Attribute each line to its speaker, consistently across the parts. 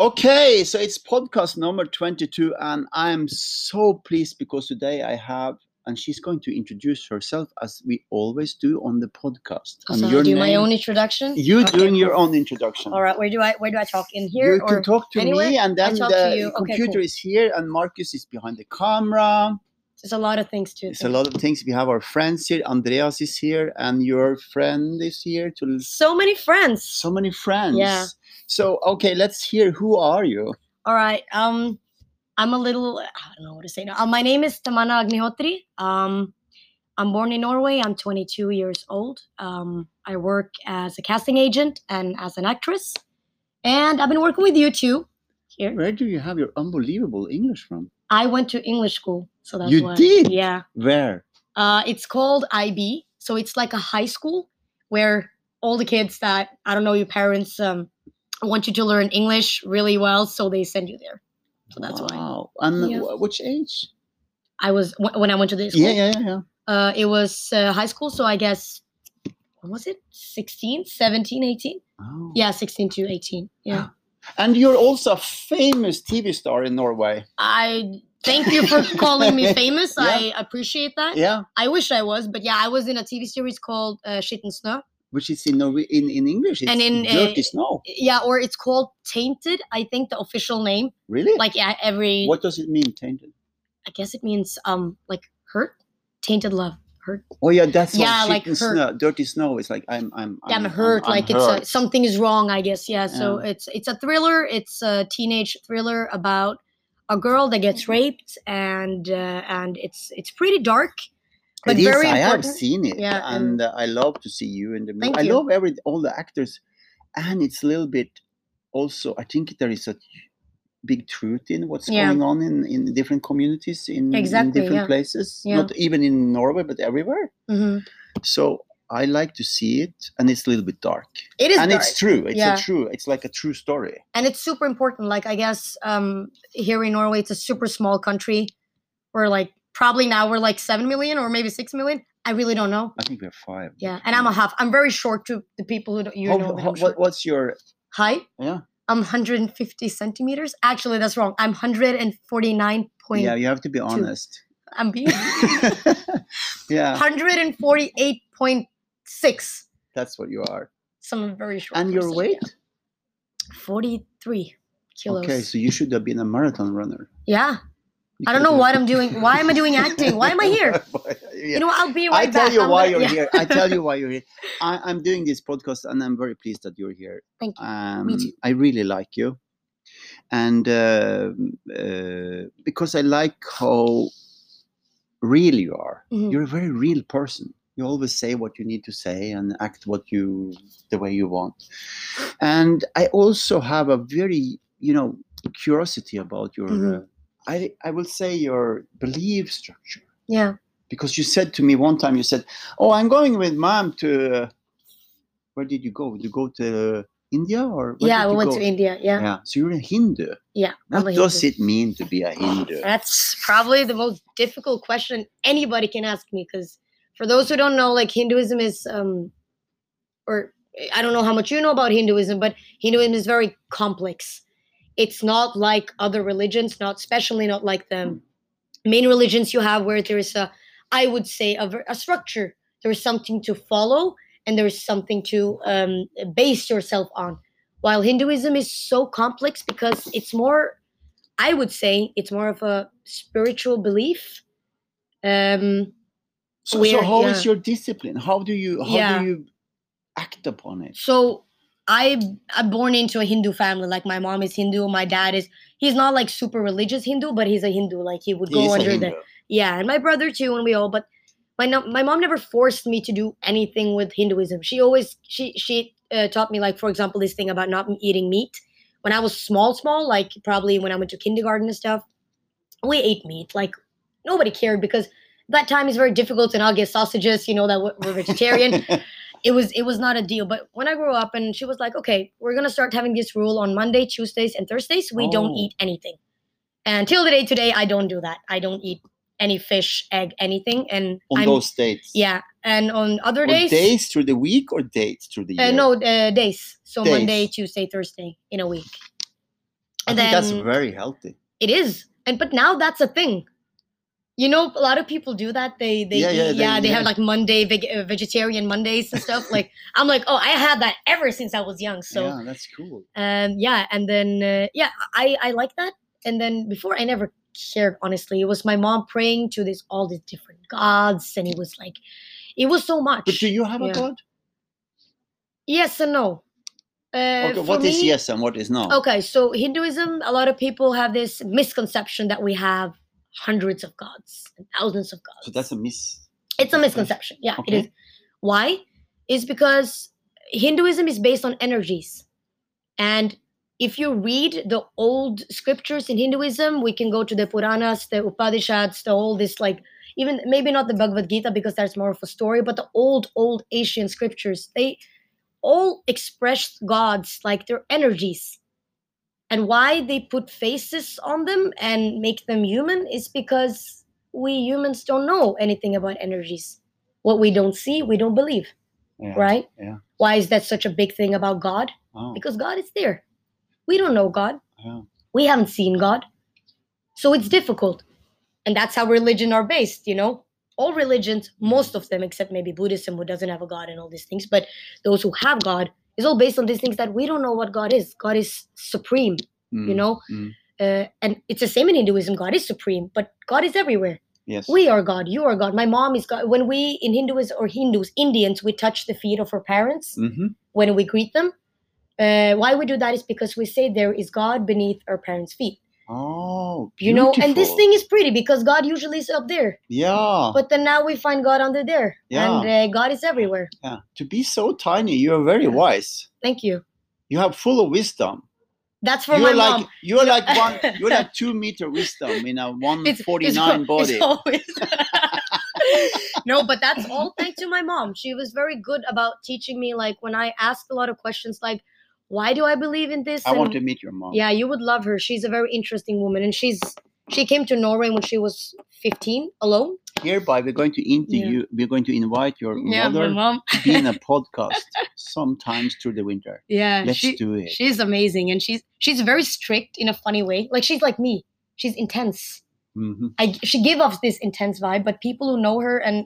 Speaker 1: Okay, so it's podcast number 22, and I'm so pleased because today I have, and she's going to introduce herself as we always do on the podcast. And
Speaker 2: So I
Speaker 1: your
Speaker 2: do my
Speaker 1: name-
Speaker 2: own introduction.
Speaker 1: You
Speaker 2: Okay.
Speaker 1: doing your own introduction.
Speaker 2: All right. Where do I where do I talk in here
Speaker 1: You
Speaker 2: or
Speaker 1: can talk to
Speaker 2: anywhere?
Speaker 1: me, and then
Speaker 2: talk to
Speaker 1: the
Speaker 2: you. Okay,
Speaker 1: computer
Speaker 2: cool.
Speaker 1: is here, and Marcus is behind the camera.
Speaker 2: there's a lot of things to
Speaker 1: It's a
Speaker 2: think.
Speaker 1: lot of things. We have our friends here. Andreas is here, and your friend is here. To
Speaker 2: So many friends.
Speaker 1: so many friends.
Speaker 2: Yeah.
Speaker 1: So okay, let's hear. Who are you?
Speaker 2: All right. Um, I'm a little. I don't know what to say now. Uh, my name is Tamana Agnihotri. Um, I'm born in Norway. I'm 22 years old. Um, I work as a casting agent and as an actress, and I've been working with you two here.
Speaker 1: Where do you have your unbelievable English from?
Speaker 2: I went to English school, so that's
Speaker 1: You
Speaker 2: why.
Speaker 1: did?
Speaker 2: Yeah.
Speaker 1: Where?
Speaker 2: Uh, it's called IB. So it's like a high school where all the kids that I don't know your parents um, want you to learn English really well, so they send you there. So that's why
Speaker 1: wow. And
Speaker 2: Yeah.
Speaker 1: wh- which age?
Speaker 2: I was wh- when I went to this.
Speaker 1: Yeah,
Speaker 2: school,
Speaker 1: yeah, yeah, yeah.
Speaker 2: Uh, it was uh, high school, so I guess what was it? 16, 17, 18?
Speaker 1: Oh.
Speaker 2: Yeah, 16 to 18. Yeah.
Speaker 1: And you're also a famous TV star in Norway.
Speaker 2: I thank you for calling me famous.
Speaker 1: Yeah.
Speaker 2: I appreciate that.
Speaker 1: Yeah,
Speaker 2: I wish I was, but yeah, I was in a TV series called uh, Shit and Snow.
Speaker 1: which is in Norway in, in English. It's
Speaker 2: And in, uh,
Speaker 1: dirty snow.
Speaker 2: Yeah, or it's called Tainted, I think the official name.
Speaker 1: Really?
Speaker 2: Like yeah, every
Speaker 1: what does it mean, tainted?
Speaker 2: I guess it means um like hurt, tainted love, hurt.
Speaker 1: Oh yeah, that's
Speaker 2: Yeah,
Speaker 1: what
Speaker 2: like
Speaker 1: shit and
Speaker 2: hurt.
Speaker 1: snow, dirty snow. is like I'm, I'm,
Speaker 2: Yeah, I'm, hurt. like
Speaker 1: hurt.
Speaker 2: it's a, something is wrong, I guess. Yeah, so it's it's a thriller. It's a teenage thriller about a girl that
Speaker 1: Mm-hmm.
Speaker 2: gets raped and uh, and it's it's pretty dark. but
Speaker 1: It is,
Speaker 2: very
Speaker 1: I have
Speaker 2: important.
Speaker 1: seen it,
Speaker 2: Yeah,
Speaker 1: and uh, I love to see you in the movie.
Speaker 2: Thank
Speaker 1: I
Speaker 2: you.
Speaker 1: love every all the actors, and it's a little bit also. I think there is a big truth in what's
Speaker 2: Yeah.
Speaker 1: going on in in different communities in, in
Speaker 2: Exactly,
Speaker 1: different
Speaker 2: yeah.
Speaker 1: places.
Speaker 2: Yeah.
Speaker 1: Not even in Norway, but everywhere.
Speaker 2: hmm
Speaker 1: So I like to see it, and it's a little bit dark,
Speaker 2: It is
Speaker 1: and
Speaker 2: dark.
Speaker 1: it's true. It's
Speaker 2: Yeah.
Speaker 1: a true. It's like a true story.
Speaker 2: and it's super important like i guess um here in norway it's a super small country we're like probably now we're like 7 million or maybe 6 million i really don't know
Speaker 1: I think we're five.
Speaker 2: yeah
Speaker 1: but
Speaker 2: and i'm a
Speaker 1: yeah.
Speaker 2: half i'm very short to the people who don't, you
Speaker 1: How-
Speaker 2: know that
Speaker 1: how-
Speaker 2: I'm short.
Speaker 1: what, what's your
Speaker 2: height
Speaker 1: yeah?
Speaker 2: i'm 150 centimeters actually that's wrong i'm 149 point
Speaker 1: Yeah, you have to be honest.
Speaker 2: i'm being
Speaker 1: yeah,
Speaker 2: 148.6
Speaker 1: that's what you are.
Speaker 2: so i'm a very short
Speaker 1: And your
Speaker 2: person,
Speaker 1: weight?
Speaker 2: yeah. 43 kilos
Speaker 1: Okay, so you should have been a marathon runner.
Speaker 2: yeah I don't know what I'm doing. Why am I doing acting? Why am I here? you know what, i'll be right
Speaker 1: I tell
Speaker 2: back.
Speaker 1: you
Speaker 2: I'm
Speaker 1: why
Speaker 2: gonna-
Speaker 1: you're
Speaker 2: yeah.
Speaker 1: here. I tell you why you're here. I, I'm doing this podcast, and I'm very pleased that you're here.
Speaker 2: Thank you.
Speaker 1: Um,
Speaker 2: too.
Speaker 1: I really like you, and uh, uh, because I like how real you are.
Speaker 2: Mhm.
Speaker 1: You're a very real person. You always say what you need to say and act what you the way you want. And I also have a very you know curiosity about your.
Speaker 2: Mhm.
Speaker 1: Uh, I I will say your belief structure
Speaker 2: Yeah.
Speaker 1: because you said to me one time you said oh i'm going with mom to uh, where did you go did you go to india or where
Speaker 2: yeah,
Speaker 1: did
Speaker 2: we
Speaker 1: you
Speaker 2: went
Speaker 1: go?
Speaker 2: to India. Yeah.
Speaker 1: yeah so you're a hindu
Speaker 2: Yeah.
Speaker 1: what
Speaker 2: I'm a
Speaker 1: does
Speaker 2: Hindu.
Speaker 1: it mean to be a hindu
Speaker 2: That's probably the most difficult question anybody can ask me because for those who don't know, like Hinduism is um or eh, I don't know how much you know about Hinduism, but Hinduism is very complex. It's not like other religions, not especially not like the main religions you have where there is a I would say a, ver- a structure. There is something to follow and there is something to um, base yourself on. While Hinduism is so complex because it's more, I would say, it's more of a spiritual belief. Um,
Speaker 1: so, so
Speaker 2: Where-
Speaker 1: how is
Speaker 2: yeah.
Speaker 1: your discipline how do you how
Speaker 2: Yeah.
Speaker 1: do you act upon it
Speaker 2: so I I'm born into a Hindu family. Like my mom is Hindu, my dad is. He's not like super religious Hindu, but he's a Hindu. Like he would
Speaker 1: He is
Speaker 2: go
Speaker 1: a
Speaker 2: under the
Speaker 1: Hindu.
Speaker 2: Yeah, and my brother too, and we all. But my no- my mom never forced me to do anything with Hinduism. She always she she uh, taught me like for example this thing about not eating meat. When I was small, small, like probably when I went to kindergarten and stuff, we ate meat. Like nobody cared because that time is very difficult, and I'll get sausages. You know that we're- we're vegetarian it was it was not a deal. But when I grew up, and she was like, "Okay, we're gonna start having this rule on Monday, Tuesdays, and Thursdays. We don't
Speaker 1: Oh.
Speaker 2: eat anything." And till the day today, I don't do that. I don't eat any fish, egg, anything. And
Speaker 1: on
Speaker 2: I'm
Speaker 1: those dates
Speaker 2: yeah. And on other
Speaker 1: or
Speaker 2: days,
Speaker 1: days? through the week or dates through the year
Speaker 2: uh, no uh, days. So Monday,
Speaker 1: Days.
Speaker 2: Tuesday, Thursday in a week.
Speaker 1: I
Speaker 2: And
Speaker 1: think that's
Speaker 2: then-
Speaker 1: very healthy.
Speaker 2: It is. And but now that's a thing. You know, a lot of people do that. They they
Speaker 1: Yeah,
Speaker 2: eat-
Speaker 1: yeah,
Speaker 2: yeah,
Speaker 1: they-
Speaker 2: they, have
Speaker 1: yeah.
Speaker 2: like Monday veg- uh, vegetarian Mondays and stuff. like I'm like, oh, I had that ever since I was young. So
Speaker 1: yeah, that's cool.
Speaker 2: um yeah and then uh, yeah i i like that and then before i never cared honestly it was my mom praying to this all these different gods and it was like it was so much
Speaker 1: But do you have a
Speaker 2: Yeah.
Speaker 1: god?
Speaker 2: yes and no uh,
Speaker 1: Okay,
Speaker 2: for
Speaker 1: what is
Speaker 2: me- Oh.
Speaker 1: yes and what is no?
Speaker 2: okay so hinduism a lot of people have this misconception that we have hundreds of gods and thousands of gods
Speaker 1: So that's a miss.
Speaker 2: It's a
Speaker 1: Okay.
Speaker 2: misconception. Yeah,
Speaker 1: Okay.
Speaker 2: it is. Why? Is because Hinduism is based on energies. And if you read the old scriptures in Hinduism, we can go to the Puranas, the Upanishads, the all this like even maybe not the Bhagavad Gita because that's more of a story, but the old old Asian scriptures, they all express gods like their energies. And why they put faces on them and make them human is because we humans don't know anything about energies. What we don't see, we don't believe,
Speaker 1: Yeah.
Speaker 2: right?
Speaker 1: yeah.
Speaker 2: Why is that such a big thing about God?
Speaker 1: Oh,
Speaker 2: Because God is there. We don't know God.
Speaker 1: yeah.
Speaker 2: We haven't seen God. So it's difficult. And that's how religion are based, you know? All religions,
Speaker 1: Hmm.
Speaker 2: most of them, except maybe Buddhism, who doesn't have a God and all these things, but those who have God, is all based on these things that we don't know what God is. God is supreme you
Speaker 1: Mm,
Speaker 2: know
Speaker 1: mm.
Speaker 2: uh, and it's the same in hinduism god is supreme but god is everywhere
Speaker 1: Yes.
Speaker 2: we are god you are god my mom is god when we in hinduism or hindus indians we touch the feet of our parents
Speaker 1: hmm
Speaker 2: when we greet them uh, why we do that is because we say there is god beneath our parents feet
Speaker 1: Oh,
Speaker 2: you know and this
Speaker 1: beautiful. Ah.
Speaker 2: thing is pretty because god usually is up there
Speaker 1: Yeah.
Speaker 2: but then now we find god under there and uh, god is everywhere
Speaker 1: yeah. To be so tiny, you are very wise.
Speaker 2: thank you
Speaker 1: You have full of wisdom.
Speaker 2: that's for my
Speaker 1: you're like
Speaker 2: mom
Speaker 1: you're
Speaker 2: No.
Speaker 1: like one you're like two meter wisdom in a one forty nine
Speaker 2: al-
Speaker 1: body.
Speaker 2: it's always- no, but that's all thanks to my mom. She was very good about teaching me. Like when I asked a lot of questions, like, "Why do I believe in this?"
Speaker 1: I want to
Speaker 2: And-
Speaker 1: meet your mom.
Speaker 2: Yeah, you would love her. She's a very interesting woman, and she's she came to Norway when she was fifteen alone.
Speaker 1: Hereby we're going to interview we're going to invite your mother
Speaker 2: mom.
Speaker 1: to be in a podcast sometimes through the winter.
Speaker 2: Yeah,
Speaker 1: Let's
Speaker 2: she
Speaker 1: do it.
Speaker 2: she's amazing, and she's she's very strict in a funny way. Like she's like me. She's intense.
Speaker 1: hmm
Speaker 2: I she gave off this intense vibe, but people who know her and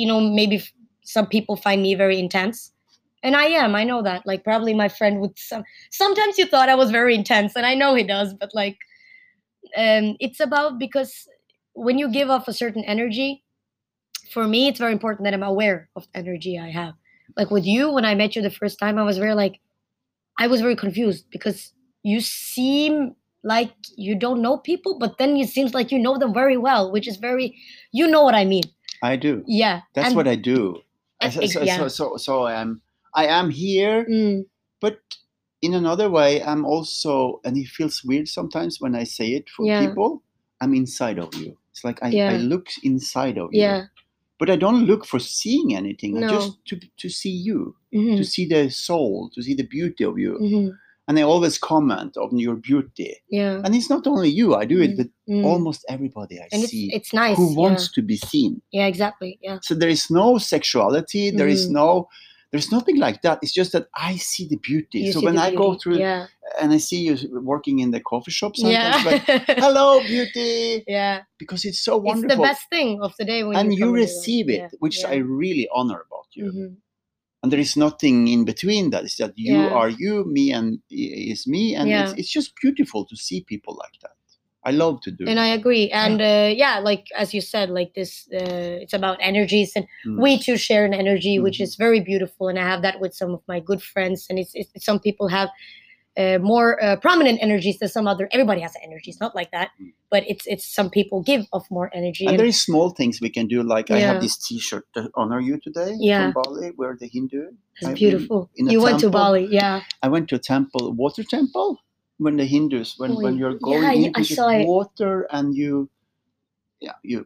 Speaker 2: you know maybe f- some people find me very intense, and I am. I know that. Like probably my friend would some. Sometimes you thought I was very intense, and I know he does, but like, um, it's about because when you give off a certain energy, for me it's very important that I'm aware of the energy I have. Like with you, when I met you the first time, I was very like, I was very confused because you seem like you don't know people, but then it seems like you know them very well, which is very, you know what I mean.
Speaker 1: I do.
Speaker 2: Yeah.
Speaker 1: That's
Speaker 2: and-
Speaker 1: what I do. I-
Speaker 2: and
Speaker 1: so,
Speaker 2: ex-
Speaker 1: so,
Speaker 2: yeah.
Speaker 1: so so so I am I am here,
Speaker 2: Mm,
Speaker 1: but in another way I'm also and it feels weird sometimes when I say it for
Speaker 2: Yeah.
Speaker 1: people. I'm inside of you. It's like I, I
Speaker 2: Yeah.
Speaker 1: look inside of you.
Speaker 2: yeah.
Speaker 1: but I don't look for seeing anything. I
Speaker 2: No.
Speaker 1: just to to see you,
Speaker 2: mhm,
Speaker 1: to see the soul, to see the beauty of you.
Speaker 2: mhm,
Speaker 1: And I always comment on your beauty.
Speaker 2: Yeah.
Speaker 1: And it's not only you. I do it
Speaker 2: Mm,
Speaker 1: with
Speaker 2: mm.
Speaker 1: almost everybody I
Speaker 2: and it's,
Speaker 1: see
Speaker 2: it's nice.
Speaker 1: who
Speaker 2: yeah.
Speaker 1: wants to be seen.
Speaker 2: Yeah. exactly. Yeah.
Speaker 1: So there is no sexuality. There is
Speaker 2: Mhm.
Speaker 1: no. There's nothing like that. It's just that I see the beauty.
Speaker 2: You
Speaker 1: so
Speaker 2: see
Speaker 1: when
Speaker 2: the
Speaker 1: I go
Speaker 2: beauty,
Speaker 1: through
Speaker 2: Yeah.
Speaker 1: and I see you s- working in the coffee shop sometimes, like,
Speaker 2: Yeah.
Speaker 1: hello, beauty,
Speaker 2: yeah.
Speaker 1: because it's so
Speaker 2: It's
Speaker 1: wonderful.
Speaker 2: the best thing of the day when
Speaker 1: and
Speaker 2: come
Speaker 1: you
Speaker 2: in the world,
Speaker 1: receive it,
Speaker 2: yeah,
Speaker 1: which
Speaker 2: yeah,
Speaker 1: I really honor about you.
Speaker 2: mhm,
Speaker 1: and there is nothing in between that it's that you
Speaker 2: Yeah.
Speaker 1: are you me and i- is me and it's,
Speaker 2: Yeah.
Speaker 1: it's just beautiful to see people like that i love to do
Speaker 2: And
Speaker 1: it.
Speaker 2: I agree. And uh, yeah, like as you said, like this, uh, it's about energies and
Speaker 1: Mm.
Speaker 2: we too share an energy which
Speaker 1: Mhm.
Speaker 2: is very beautiful and i have that with some of my good friends and it's, it's some people have uh, more uh, prominent energies than some other everybody has energies not like that
Speaker 1: Mm.
Speaker 2: but it's it's some people give off more energy
Speaker 1: and
Speaker 2: and-
Speaker 1: there is small things we can do like i have
Speaker 2: Yeah.
Speaker 1: this t-shirt to honor you today
Speaker 2: Yeah.
Speaker 1: from bali where the hindu I've been
Speaker 2: it's beautiful
Speaker 1: in a
Speaker 2: you went to
Speaker 1: temple.
Speaker 2: bali yeah
Speaker 1: i went to a temple water temple when the hindus when, when
Speaker 2: Wait,
Speaker 1: you're
Speaker 2: yeah,
Speaker 1: going
Speaker 2: I-
Speaker 1: into
Speaker 2: I
Speaker 1: the
Speaker 2: saw it.
Speaker 1: water and you yeah you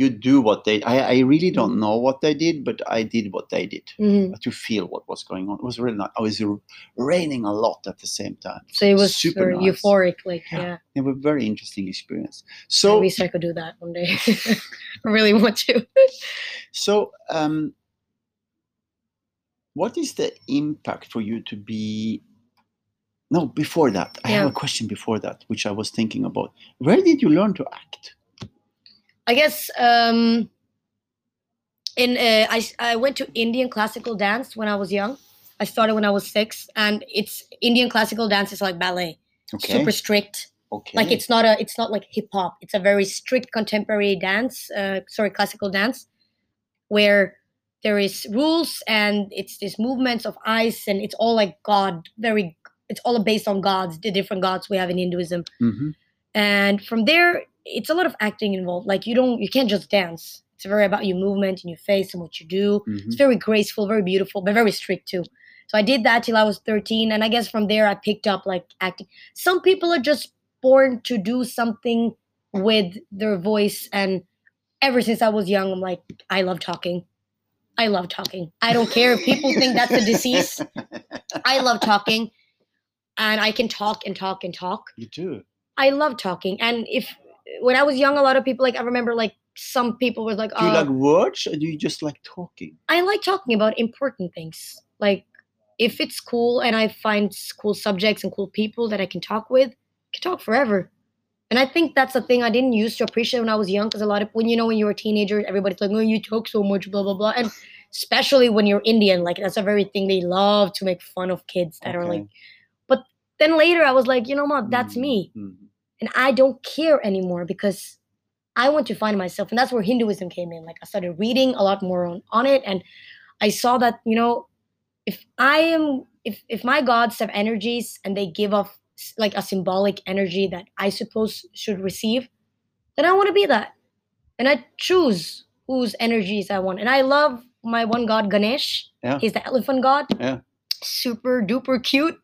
Speaker 1: you do what they I, I really don't
Speaker 2: Mm.
Speaker 1: know what they did but i did what they did
Speaker 2: Mhm.
Speaker 1: to feel what was going on. It was really nice. It was r- raining a lot at the same time.
Speaker 2: so it was
Speaker 1: Super
Speaker 2: very
Speaker 1: nice.
Speaker 2: euphoric like
Speaker 1: Yeah.
Speaker 2: yeah,
Speaker 1: It was a very interesting experience.
Speaker 2: so, i
Speaker 1: So,
Speaker 2: wish i could do that one day i really want to
Speaker 1: so um, what is the impact for you to be no, before that, I have
Speaker 2: Yeah.
Speaker 1: a question before that, which I was thinking about. Where did you learn to act?
Speaker 2: I guess um, in uh, I s- I went to Indian classical dance when I was young. I started when I was six, and it's Indian classical dance is like ballet,
Speaker 1: Okay.
Speaker 2: super strict.
Speaker 1: okay.
Speaker 2: Like it's not a it's not like hip hop. It's a very strict contemporary dance, uh, sorry, classical dance, where there is rules and it's these movements of ice and it's all like God, very. It's all based on gods, the different gods we have in Hinduism
Speaker 1: Mhm.
Speaker 2: and from there it's a lot of acting involved like you don't you can't just dance it's very about your movement and your face and what you do
Speaker 1: Mhm.
Speaker 2: it's very graceful very beautiful but very strict too so i did that till i was 13 and i guess from there i picked up like acting some people are just born to do something with their voice and ever since i was young i'm like i love talking i love talking i don't care if people think that's a disease i love talking and i can talk and talk and talk
Speaker 1: You do.
Speaker 2: I love talking. And if when I was young, a lot of people like I remember like some people were like,
Speaker 1: Do you
Speaker 2: "Oh,
Speaker 1: like words or do you just like talking?
Speaker 2: I like talking about important things." Like if it's cool and I find s- cool subjects and cool people that I can talk with, I can talk forever. And I think that's a thing I didn't used to appreciate when I was young, because a lot of when you know when you're a teenager, everybody's like, "Oh, you talk so much," blah blah blah, and especially when you're Indian, like that's a very thing they love to make fun of kids that are like.
Speaker 1: Okay.
Speaker 2: Then later, I was like, you know what? That's
Speaker 1: Mhm.
Speaker 2: me.
Speaker 1: Mhm.
Speaker 2: and I don't care anymore because I want to find myself. And that's where Hinduism came in. Like I started reading a lot more on, on it and I saw that, you know, if I am if if my gods have energies and they give off s- like a symbolic energy that I suppose should receive, then I want to be that. And I choose whose energies I want. And I love my one god Ganesh.
Speaker 1: Yeah.
Speaker 2: He's the elephant god.
Speaker 1: Yeah.
Speaker 2: Super duper cute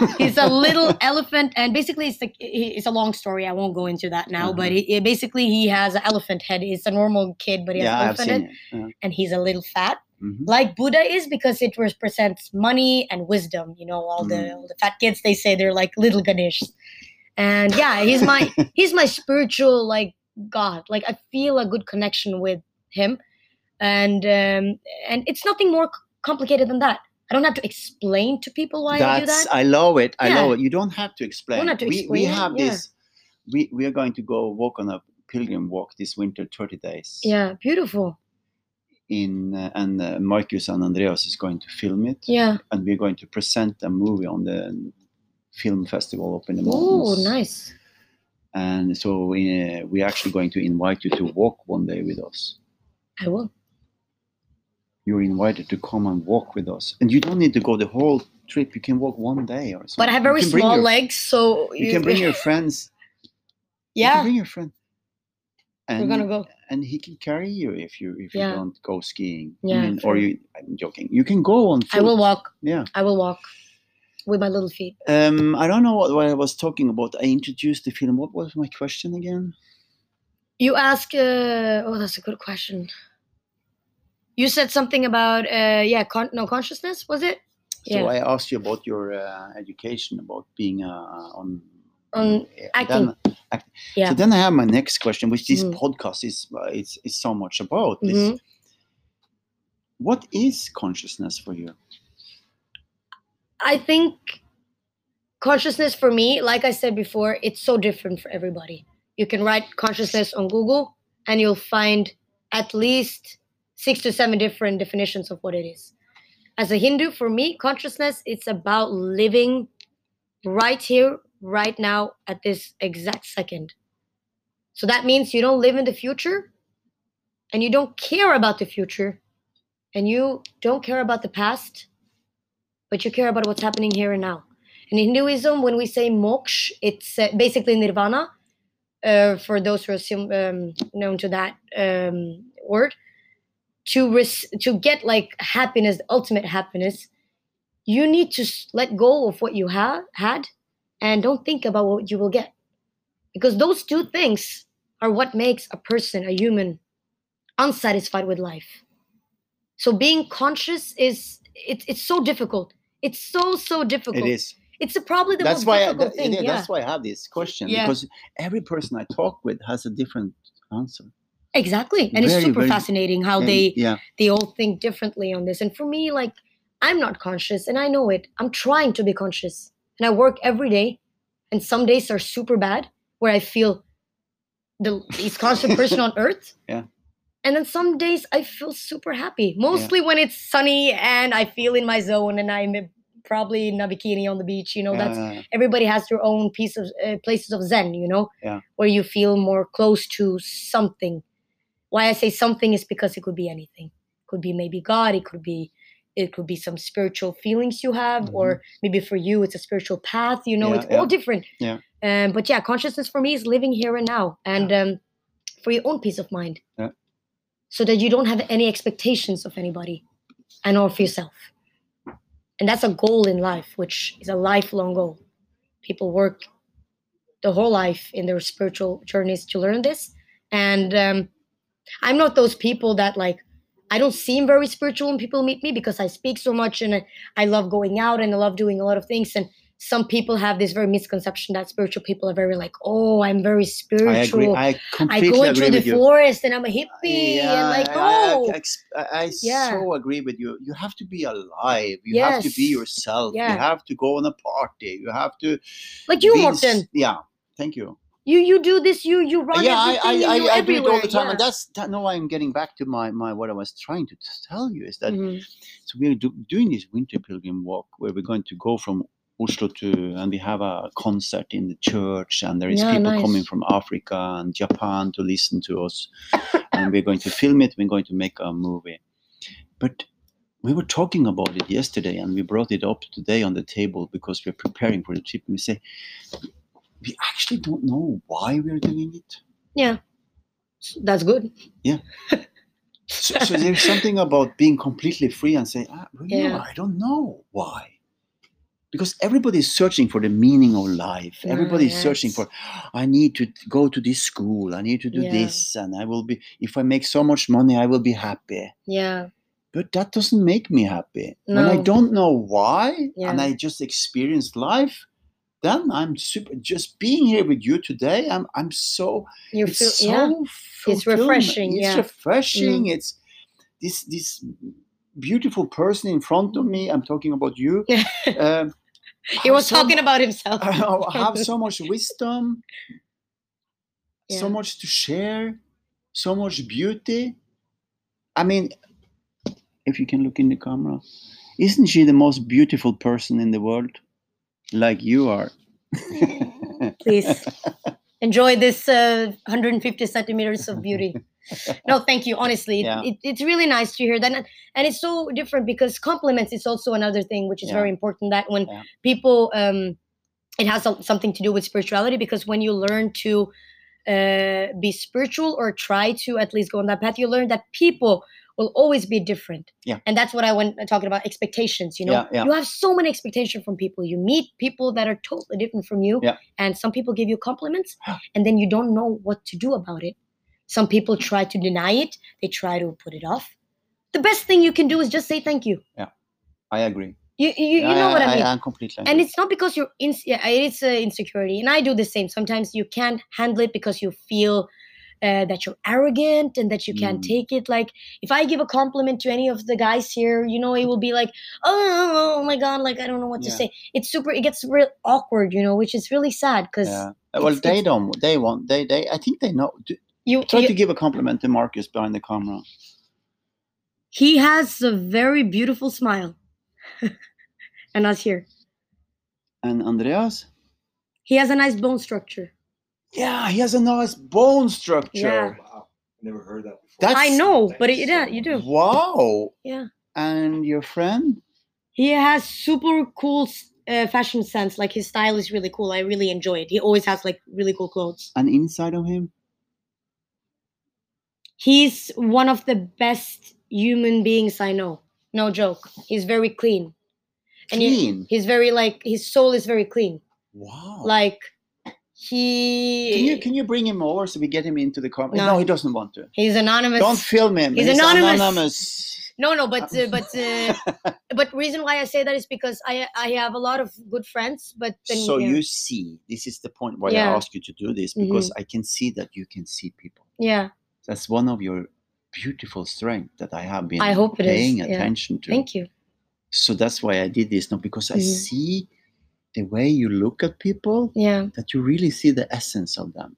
Speaker 1: Mm-hmm.
Speaker 2: he's a little elephant and basically it's like he- it's a long story i won't go into that now but
Speaker 1: Uh-huh.
Speaker 2: he, he- basically he has an elephant head he's a normal kid but he
Speaker 1: yeah, I've
Speaker 2: has an elephant
Speaker 1: seen
Speaker 2: head
Speaker 1: it. Yeah.
Speaker 2: and he's a little fat
Speaker 1: Mhm.
Speaker 2: like buddha is because it represents money and wisdom you know all the
Speaker 1: Mm.
Speaker 2: all the fat kids they say they're like little ganesh and yeah he's my he's my spiritual like god like i feel a good connection with him and um and it's nothing more c- complicated than that i don't have to explain to people why i do that
Speaker 1: That's I love it. I love
Speaker 2: Yeah.
Speaker 1: it. You don't have to explain.
Speaker 2: have to
Speaker 1: we we
Speaker 2: explain it,
Speaker 1: have
Speaker 2: yeah.
Speaker 1: this. We we are going to go walk on a pilgrim walk this winter, thirty days.
Speaker 2: yeah beautiful
Speaker 1: In uh, and uh, Marcus and Andreas is going to film it,
Speaker 2: Yeah.
Speaker 1: and we're going to present a movie on the film festival up in the
Speaker 2: Oh,
Speaker 1: mountains.
Speaker 2: nice.
Speaker 1: And so we, uh, we're actually going to invite you to walk one day with us.
Speaker 2: I will.
Speaker 1: You're invited to come and walk with us, and you don't need to go the whole trip. You can walk one day or something.
Speaker 2: But I have
Speaker 1: You
Speaker 2: very
Speaker 1: can bring
Speaker 2: small
Speaker 1: your-
Speaker 2: legs, so
Speaker 1: You can bring your friends. You can
Speaker 2: yeah,
Speaker 1: bring your friend. And,
Speaker 2: we're gonna go.
Speaker 1: and he can carry you if you if you
Speaker 2: Yeah.
Speaker 1: don't go skiing. I
Speaker 2: Yeah,
Speaker 1: mean, or
Speaker 2: true.
Speaker 1: you. I'm joking. You can go on.
Speaker 2: I will walk.
Speaker 1: Yeah.
Speaker 2: I will walk with my little feet.
Speaker 1: Um. I don't know what, what I was talking about. I introduced the film. What was my question again?
Speaker 2: You ask. Uh, oh, that's a good question. You said something about uh, yeah, con- no consciousness was it?
Speaker 1: So
Speaker 2: Yeah.
Speaker 1: I asked you about your uh, education, about being uh, on.
Speaker 2: On
Speaker 1: yeah,
Speaker 2: acting.
Speaker 1: Then, act-
Speaker 2: Yeah.
Speaker 1: So then I have my next question, which this
Speaker 2: Mhm.
Speaker 1: podcast is uh, it's, is so much about. This.
Speaker 2: Mhm.
Speaker 1: What is consciousness for you?
Speaker 2: I think consciousness for me, like I said before, it's so different for everybody. You can write consciousness on Google and you'll find at least six to seven different definitions of what it is. As a Hindu, for me, consciousness it's about living right here, right now, at this exact second. So that means you don't live in the future and you don't care about the future and you don't care about the past but you care about what's happening here and now. In Hinduism, when we say moksha, it's uh, basically nirvana. Uh, for those who are sim- um, known to that um, word, to res- to get like happiness, ultimate happiness, you need to s- let go of what you have had, and don't think about what you will get, because those two things are what makes a person, a human, unsatisfied with life. So being conscious is it's it's so difficult. It's so so difficult.
Speaker 1: It is.
Speaker 2: It's a probably the
Speaker 1: that's
Speaker 2: most
Speaker 1: why I,
Speaker 2: difficult
Speaker 1: that-
Speaker 2: thing.
Speaker 1: yeah,
Speaker 2: yeah.
Speaker 1: that's why I have this question
Speaker 2: Yeah.
Speaker 1: because every person I talk with has a different answer.
Speaker 2: Exactly, and
Speaker 1: Very,
Speaker 2: it's super
Speaker 1: very-
Speaker 2: fascinating how
Speaker 1: And-
Speaker 2: they
Speaker 1: yeah,
Speaker 2: they all think differently on this. And for me, like I'm not conscious, and I know it. I'm trying to be conscious. and I work every day. And some days are super bad where I feel the least constant person on earth.
Speaker 1: Yeah.
Speaker 2: And then some days I feel super happy, mostly when it's sunny and I feel in my zone and I'm probably in a bikini on the beach. You know, that's
Speaker 1: Yeah.
Speaker 2: everybody has their own piece of uh, places of zen you know
Speaker 1: Yeah.
Speaker 2: where you feel more close to something why i say something is because it could be anything could be maybe god it could be it could be some spiritual feelings you have
Speaker 1: Mm-hmm.
Speaker 2: or maybe for you it's a spiritual path you know
Speaker 1: Yeah,
Speaker 2: it's
Speaker 1: yeah.
Speaker 2: all different
Speaker 1: Yeah.
Speaker 2: um but yeah consciousness for me is living here and now and um for your own peace of mind
Speaker 1: Yeah.
Speaker 2: so that you don't have any expectations of anybody and or for yourself and that's a goal in life which is a lifelong goal people work the whole life in their spiritual journeys to learn this and um, i'm not those people that like i don't seem very spiritual when people meet me because i speak so much and I, I love going out and i love doing a lot of things and some people have this very misconception that spiritual people are very like oh i'm very
Speaker 1: I agree.
Speaker 2: spiritual i,
Speaker 1: I completely
Speaker 2: go
Speaker 1: agree
Speaker 2: into the
Speaker 1: with you.
Speaker 2: forest and i'm a hippie and like
Speaker 1: I- I-
Speaker 2: oh
Speaker 1: I, ex- I, I
Speaker 2: Yeah.
Speaker 1: so agree with you. You have to be alive. You have to be
Speaker 2: Yes.
Speaker 1: yourself.
Speaker 2: Yeah.
Speaker 1: You have to go on a party. You have to.
Speaker 2: like you
Speaker 1: be in s-
Speaker 2: morten
Speaker 1: Yeah. Thank you.
Speaker 2: you you do this you you run
Speaker 1: yeah, I, I,
Speaker 2: everything and
Speaker 1: I,
Speaker 2: you're
Speaker 1: I do it
Speaker 2: everywhere
Speaker 1: all the time,
Speaker 2: yeah.
Speaker 1: and that's that, no. I'm getting back to my my what I was trying to t- tell you is that
Speaker 2: Mhm.
Speaker 1: so we're do, doing this winter pilgrim walk where we're going to go from Oslo to and we have a concert in the church and there is
Speaker 2: Yeah,
Speaker 1: people
Speaker 2: nice.
Speaker 1: coming from Africa and Japan to listen to us and we're going to film it we're going to make a movie but we were talking about it yesterday and we brought it up today on the table because we're preparing for the trip and we say we actually don't know why we're doing it
Speaker 2: that's good
Speaker 1: so, so there's something about being completely free and say, ah, well, you know,
Speaker 2: Yeah.
Speaker 1: I don't know why. Because everybody's searching for the meaning of life.
Speaker 2: Ah,
Speaker 1: Everybody's searching
Speaker 2: Nice.
Speaker 1: for, I need to go to this school. I need to do
Speaker 2: Yeah.
Speaker 1: this. And I will be, if I make so much money, I will be happy.
Speaker 2: yeah
Speaker 1: But that doesn't make me happy. When I
Speaker 2: No.
Speaker 1: don't know why and
Speaker 2: Yeah.
Speaker 1: I just experience life, then I'm super, just being here with you today, I'm, I'm so
Speaker 2: you feel
Speaker 1: it's
Speaker 2: yeah
Speaker 1: so fulfillment.
Speaker 2: refreshing,
Speaker 1: It's
Speaker 2: yeah. Mm.
Speaker 1: refreshing. It's this this beautiful person in front of me. I'm talking about you. um,
Speaker 2: he
Speaker 1: have
Speaker 2: was
Speaker 1: so
Speaker 2: talking
Speaker 1: mu-
Speaker 2: about himself
Speaker 1: have so much wisdom,
Speaker 2: Yeah.
Speaker 1: so much to share, so much beauty. I mean, if you can look in the camera, isn't she the most beautiful person in the world? Like you are.
Speaker 2: please enjoy this uh, 150 centimeters of beauty no thank you honestly it-
Speaker 1: Yeah.
Speaker 2: it, it's really nice to hear that and- and it's so different because compliments is also another thing which is
Speaker 1: Yeah.
Speaker 2: very important that when
Speaker 1: Yeah.
Speaker 2: people um it has some- something to do with spirituality because when you learn to uh, be spiritual or try to at least go on that path you learn that people will always be different
Speaker 1: Yeah.
Speaker 2: and that's what i went uh, talking about expectations you know
Speaker 1: Yeah, yeah.
Speaker 2: you have so many expectations from people you meet people that are totally different from you
Speaker 1: Yeah.
Speaker 2: and some people give you compliments and then you don't know what to do about it some people try to deny it they try to put it off the best thing you can do is just say thank you
Speaker 1: I agree.
Speaker 2: you you, you know what i mean
Speaker 1: I, am completely.
Speaker 2: and it's not because you're in yeah, it's uh, insecurity and i do the same sometimes you can't handle it because you feel uh, that you're arrogant and that you can't
Speaker 1: Mm.
Speaker 2: take it like if i give a compliment to any of the guys here you know it will be like oh, oh my god like i don't know what to
Speaker 1: Yeah.
Speaker 2: say it's super it gets real awkward you know which is really sad because
Speaker 1: Yeah. Well,
Speaker 2: it's-
Speaker 1: they
Speaker 2: it's-
Speaker 1: don't. They won't. They. They. I think they know. Do-
Speaker 2: you,
Speaker 1: Try
Speaker 2: you-
Speaker 1: to give a compliment to Marcus behind the camera.
Speaker 2: he has a very beautiful smile and us here
Speaker 1: And Andreas.
Speaker 2: he has a nice bone structure
Speaker 1: Yeah, he has a nice bone structure.
Speaker 2: Yeah.
Speaker 3: Wow, I never heard that before.
Speaker 1: That's-
Speaker 2: i know but
Speaker 3: Thank
Speaker 2: it,
Speaker 3: you so
Speaker 2: yeah you do
Speaker 1: Wow.
Speaker 2: Yeah.
Speaker 1: And your friend?
Speaker 2: He has super cool s- uh, fashion sense. Like his style is really cool. I really enjoy it. He always has like really cool clothes.
Speaker 1: And inside of him?
Speaker 2: He's one of the best human beings I know. No joke. He's very clean. And he-
Speaker 1: Clean.
Speaker 2: he's very like his soul is very clean.
Speaker 1: wow.
Speaker 2: Like
Speaker 1: can
Speaker 2: he
Speaker 1: you can you bring him over so we get him into the camera?
Speaker 2: No.
Speaker 1: No, he doesn't want to.
Speaker 2: he's anonymous.
Speaker 1: Don't film him.
Speaker 2: He's anonymous.
Speaker 1: anonymous.
Speaker 2: No, no, but uh, but uh, but reason why I say that is because I I have a lot of good friends, but then
Speaker 1: So
Speaker 2: yeah.
Speaker 1: you see, this is the point why
Speaker 2: Yeah.
Speaker 1: I asked you to do this
Speaker 2: Mhm.
Speaker 1: because I can see that you can see people.
Speaker 2: yeah.
Speaker 1: that's one of your beautiful strengths that I have been
Speaker 2: I hope it is,
Speaker 1: paying
Speaker 2: yeah.
Speaker 1: attention to.
Speaker 2: Thank you. Mm.
Speaker 1: So that's why I did this, not because I
Speaker 2: Mhm.
Speaker 1: see the way you look at people
Speaker 2: Yeah.
Speaker 1: that you really see the essence of them.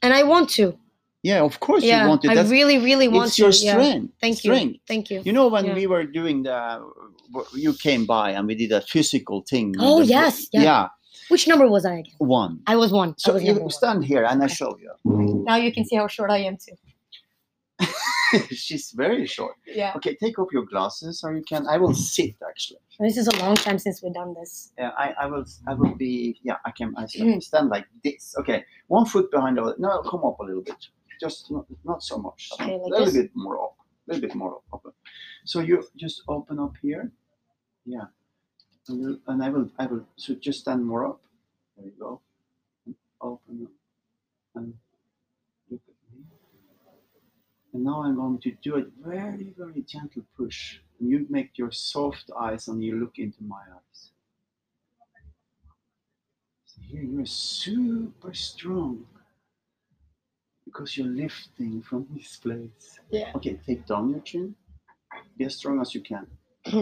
Speaker 2: And I want to.
Speaker 1: Yeah, of course
Speaker 2: Yeah.
Speaker 1: you want it.
Speaker 2: I
Speaker 1: That's
Speaker 2: really, really want
Speaker 1: it's
Speaker 2: to.
Speaker 1: your
Speaker 2: yeah.
Speaker 1: strength.
Speaker 2: Thank you.
Speaker 1: strength.
Speaker 2: Thank you.
Speaker 1: You know when
Speaker 2: Yeah.
Speaker 1: we were doing the you came by and we did a physical thing. with
Speaker 2: Oh,
Speaker 1: the-
Speaker 2: yes, yeah.
Speaker 1: Yeah.
Speaker 2: Which number was I again?
Speaker 1: one.
Speaker 2: I was one. I
Speaker 1: So
Speaker 2: was
Speaker 1: you
Speaker 2: number one.
Speaker 1: stand here and I show you.
Speaker 2: Now you can see how short I am too.
Speaker 1: She's very short.
Speaker 2: Yeah.
Speaker 1: Okay, take off your glasses or you can. I will sit actually.
Speaker 2: This is a long time since we've done this.
Speaker 1: Yeah, I, I will. I will be. Yeah, I can. I
Speaker 2: Mm.
Speaker 1: stand, stand like this. Okay, one foot behind the other. No, come up a little bit. Just not, not so much.
Speaker 2: Okay, like
Speaker 1: a little
Speaker 2: this?
Speaker 1: bit more up. A little bit more up. open. So you just open up here. Yeah, and, you- and I will. I will. So just stand more up. There you go. And open up. And look at me. And now I'm going to do a very, very gentle push. And you make your soft eyes and you look into my eyes. So here you're super strong because you're lifting from this place.
Speaker 2: Yeah.
Speaker 1: Okay, take down your chin. Be as strong as you can.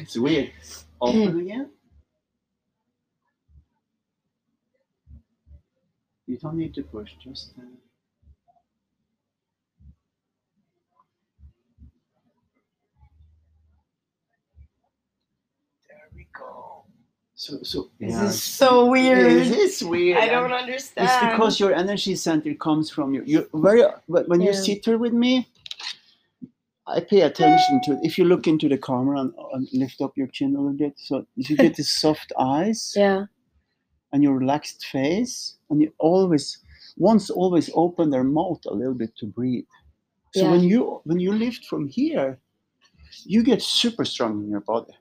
Speaker 1: it's weird. Open again. You don't need to push, just. Uh, There we go. So, so
Speaker 2: This is so weird.
Speaker 1: It is weird.
Speaker 2: I don't
Speaker 1: and
Speaker 2: understand.
Speaker 1: It's because your energy center comes from your. You very when when you
Speaker 2: Yeah.
Speaker 1: sit here with me, I pay attention to. If you look into the camera and, and lift up your chin a little bit, so you get the soft eyes
Speaker 2: Yeah.
Speaker 1: and your relaxed face, and you always once always open their mouth a little bit to breathe. So
Speaker 2: Yeah.
Speaker 1: when you when you lift from here, you get super strong in your body.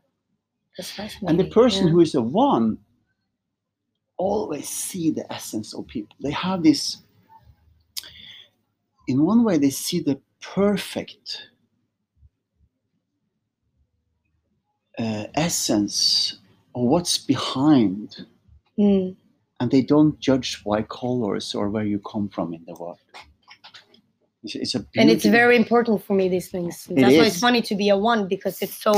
Speaker 2: That's
Speaker 1: And the
Speaker 2: fascinating,
Speaker 1: person
Speaker 2: yeah.
Speaker 1: who is a one always see the essence of people. They have this, in one way, they see the perfect uh, essence of what's behind,
Speaker 2: Mm.
Speaker 1: and they don't judge by colors or where you come from in the world. It's, it's a
Speaker 2: And it's
Speaker 1: beauty-
Speaker 2: very important for me, these things.
Speaker 1: It
Speaker 2: That's why it's
Speaker 1: is.
Speaker 2: funny to be a one because it's so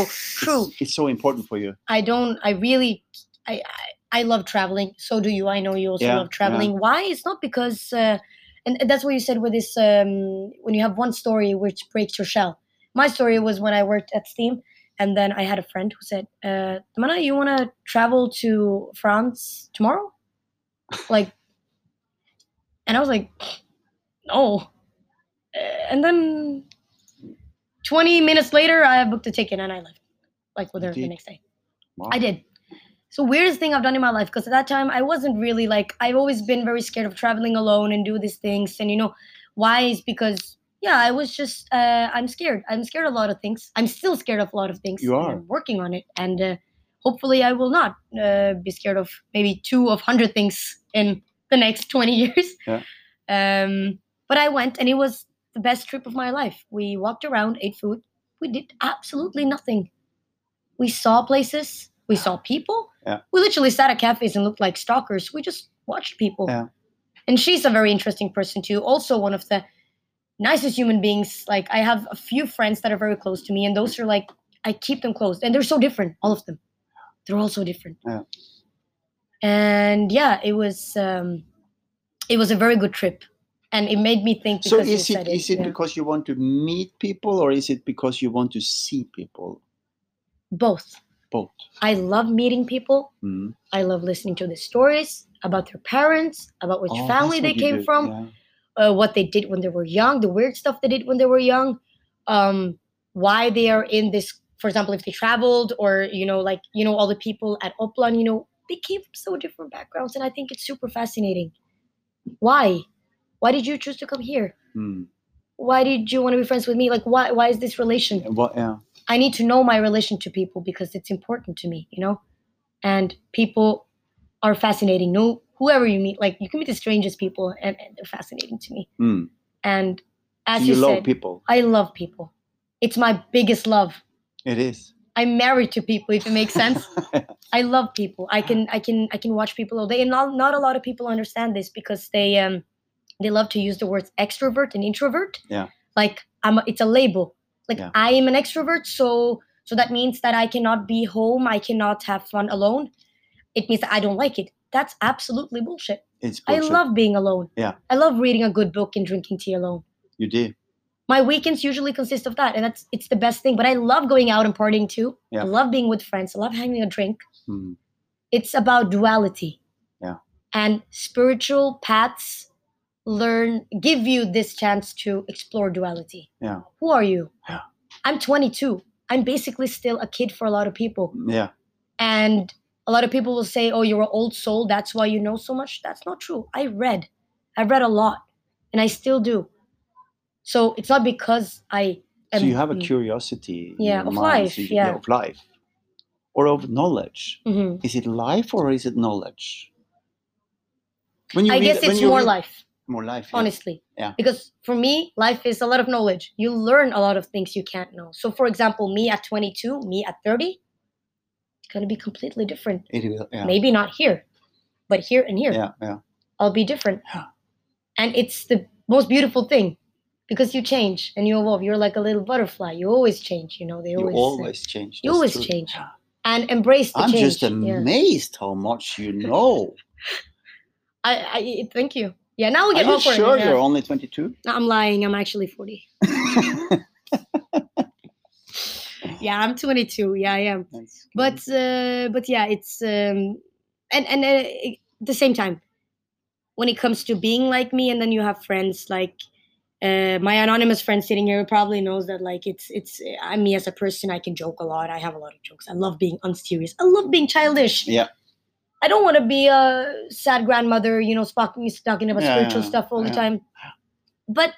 Speaker 2: true.
Speaker 1: It's, it's so important for you.
Speaker 2: I don't. I really. I. I, I love traveling. So do you. I know you also
Speaker 1: Yeah,
Speaker 2: love traveling. Why? It's not because. Uh, and and that's what you said with this. Um, when you have one story which breaks your shell. My story was when I worked at Steam, and then I had a friend who said, uh, "Tamana, you want to travel to France tomorrow?" Like, and I was like, "No." Uh, and then, twenty minutes later, I booked a ticket and I left. Like with her the
Speaker 1: Indeed.
Speaker 2: next day.
Speaker 1: Wow.
Speaker 2: I did. So weirdest thing I've done in my life because at that time I wasn't really like I've always been very scared of traveling alone and do these things and you know why is because yeah I was just uh, I'm scared I'm scared of a lot of things I'm still scared of a lot of things
Speaker 1: You
Speaker 2: and
Speaker 1: are.
Speaker 2: I'm working on it and uh, hopefully I will not uh, be scared of maybe two of hundred things in the next twenty years
Speaker 1: Yeah.
Speaker 2: um but I went and it was the best trip of my life we walked around ate food we did absolutely nothing we saw places we saw people
Speaker 1: Yeah.
Speaker 2: we literally sat at cafes and looked like stalkers we just watched people
Speaker 1: Yeah.
Speaker 2: and she's a very interesting person too also one of the nicest human beings like i have a few friends that are very close to me and those are like i keep them close and they're so different all of them they're all so different
Speaker 1: Yeah.
Speaker 2: and yeah it was um it was a very good trip and it made me think
Speaker 1: So
Speaker 2: because you
Speaker 1: is
Speaker 2: said
Speaker 1: it is it
Speaker 2: yeah.
Speaker 1: because you want to meet people or is it because you want to see people?
Speaker 2: both
Speaker 1: Both.
Speaker 2: i love meeting people
Speaker 1: Mm.
Speaker 2: I love listening to the stories about their parents, about which
Speaker 1: Oh, that's
Speaker 2: family they
Speaker 1: what you
Speaker 2: came
Speaker 1: do,
Speaker 2: from,
Speaker 1: yeah.
Speaker 2: uh, what they did when they were young, the weird stuff they did when they were young, um, why they are in this. For example, if they traveled, or you know, like you know, all the people at Oplan, you know, they came from so different backgrounds, and I think it's super fascinating. Why? Why did you choose to come here?
Speaker 1: Mm.
Speaker 2: Why did you want to be friends with me? Like, why? Why is this relation?
Speaker 1: And what- yeah.
Speaker 2: I need to know my relation to people because it's important to me, you know? And people are fascinating. No, whoever you meet, like you can meet the strangest people and, and they're fascinating to me.
Speaker 1: Mm.
Speaker 2: And as
Speaker 1: So
Speaker 2: you,
Speaker 1: you love
Speaker 2: said,
Speaker 1: people.
Speaker 2: I love people. It's my biggest love.
Speaker 1: It is.
Speaker 2: I'm married to people, if it makes sense. I love people. I can I can I can watch people all day. And not, not a lot of people understand this because they um they love to use the words extrovert and introvert.
Speaker 1: Yeah.
Speaker 2: Like I'm a, it's a label. Like
Speaker 1: Yeah.
Speaker 2: I am an extrovert, so So that means that I cannot be home. I cannot have fun alone. It means that I don't like it. That's absolutely bullshit.
Speaker 1: It's
Speaker 2: I
Speaker 1: bullshit.
Speaker 2: love being alone.
Speaker 1: Yeah.
Speaker 2: I love reading a good book and drinking tea alone.
Speaker 1: you do.
Speaker 2: My weekends usually consist of that, and that's it's the best thing. But I love going out and partying too.
Speaker 1: Yeah.
Speaker 2: I love being with friends. I love having a drink.
Speaker 1: Mm.
Speaker 2: It's about duality.
Speaker 1: Yeah.
Speaker 2: And spiritual paths learn give you this chance to explore duality.
Speaker 1: Yeah.
Speaker 2: Who are you?
Speaker 1: Yeah.
Speaker 2: I'm 22. I'm basically still a kid for a lot of people.
Speaker 1: Yeah.
Speaker 2: And a lot of people will say, "Oh, you're an old soul. That's why you know so much." That's not true. I read. I read a lot, and I still do. So it's not because I.
Speaker 1: so you have a
Speaker 2: mm,
Speaker 1: curiosity in
Speaker 2: Yeah,
Speaker 1: your
Speaker 2: of
Speaker 1: mind,
Speaker 2: life,
Speaker 1: so you-
Speaker 2: yeah.
Speaker 1: of life or of knowledge
Speaker 2: mhm.
Speaker 1: is it life or is it knowledge when
Speaker 2: I
Speaker 1: read-
Speaker 2: guess
Speaker 1: when
Speaker 2: it's
Speaker 1: you
Speaker 2: more
Speaker 1: read-
Speaker 2: life,
Speaker 1: more life yeah.
Speaker 2: honestly.
Speaker 1: Yeah.
Speaker 2: Because for me, life is a lot of knowledge. You learn a lot of things you can't know. So, for example, me at 22, me at 30, it's gonna be completely different.
Speaker 1: it will yeah
Speaker 2: Maybe not here, but here and here.
Speaker 1: yeah yeah
Speaker 2: I'll be different.
Speaker 1: Yeah.
Speaker 2: And it's the most beautiful thing because you change and you evolve. You're like a little butterfly. You always change, you know. They
Speaker 1: you
Speaker 2: always, say.
Speaker 1: always change
Speaker 2: You
Speaker 1: that's
Speaker 2: always
Speaker 1: true.
Speaker 2: change. and embrace the
Speaker 1: i'm
Speaker 2: change.
Speaker 1: just
Speaker 2: yeah.
Speaker 1: amazed how much you know
Speaker 2: I, I thank you. Yeah, now we
Speaker 1: are
Speaker 2: get
Speaker 1: you
Speaker 2: awkward.
Speaker 1: sure
Speaker 2: yeah.
Speaker 1: you're only 22
Speaker 2: No, I'm lying. I'm actually 40. Yeah, I'm 22. Yeah, I am. But
Speaker 1: Mm-hmm.
Speaker 2: uh, but yeah, it's um, and and uh, i- at the same time, when it comes to being like me, and then you have friends like uh, my anonymous friend sitting here probably knows that like it's it's I'm me as a person. I can joke a lot. I have a lot of jokes. I love being unserious. I love being childish.
Speaker 1: Yeah.
Speaker 2: I don't want to be a sad grandmother, you know, spark- me talking about
Speaker 1: Yeah,
Speaker 2: spiritual
Speaker 1: yeah,
Speaker 2: stuff all
Speaker 1: yeah.
Speaker 2: the time. But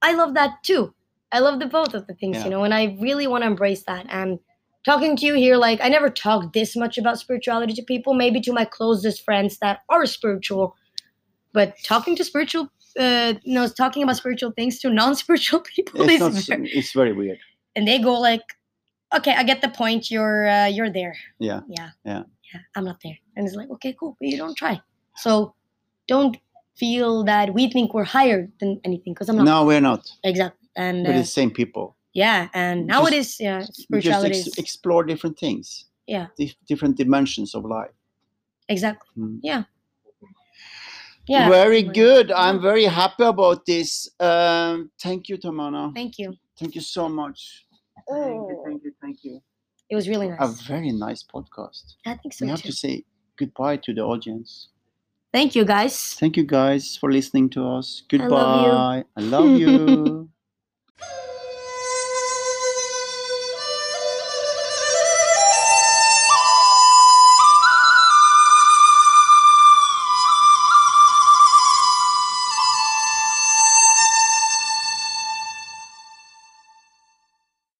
Speaker 2: I love that too. I love the both of the things,
Speaker 1: Yeah.
Speaker 2: you know, and I really want to embrace that. And talking to you here, like I never talked this much about spirituality to people, maybe to my closest friends that are spiritual. But talking to spiritual, uh, you know, talking about spiritual things to non-spiritual people
Speaker 1: it's,
Speaker 2: is
Speaker 1: not,
Speaker 2: ver-
Speaker 1: it's very weird
Speaker 2: and they go like, "Okay, I get the point. You're uh, you're there.
Speaker 1: Yeah,
Speaker 2: yeah,
Speaker 1: yeah.
Speaker 2: yeah. I'm not there." And it's like, "Okay, cool, but you don't try. So don't feel that we think we're higher than anything because I'm not
Speaker 1: no we're not
Speaker 2: exactly." And
Speaker 1: we're
Speaker 2: uh,
Speaker 1: the same people
Speaker 2: yeah, and
Speaker 1: just-
Speaker 2: now it is yeah
Speaker 1: we just
Speaker 2: spirituality
Speaker 1: ex-
Speaker 2: is
Speaker 1: explore different things
Speaker 2: Yeah.
Speaker 1: dif- different dimensions of life
Speaker 2: exactly
Speaker 1: Mm.
Speaker 2: yeah.
Speaker 1: very
Speaker 2: like-
Speaker 1: good. I'm very happy about this. Um, thank you, Tamana. Thank,
Speaker 2: Thank Oh. you.
Speaker 1: you so much. Thank you, thank you, thank you.
Speaker 2: It was really nice.
Speaker 1: A very nice podcast.
Speaker 2: I think
Speaker 1: we
Speaker 2: so
Speaker 1: have
Speaker 2: too.
Speaker 1: to say goodbye to the audience.
Speaker 2: Thank you guys.
Speaker 1: Thank you guys for listening to us.
Speaker 2: I love you.
Speaker 1: Goodbye. I love you.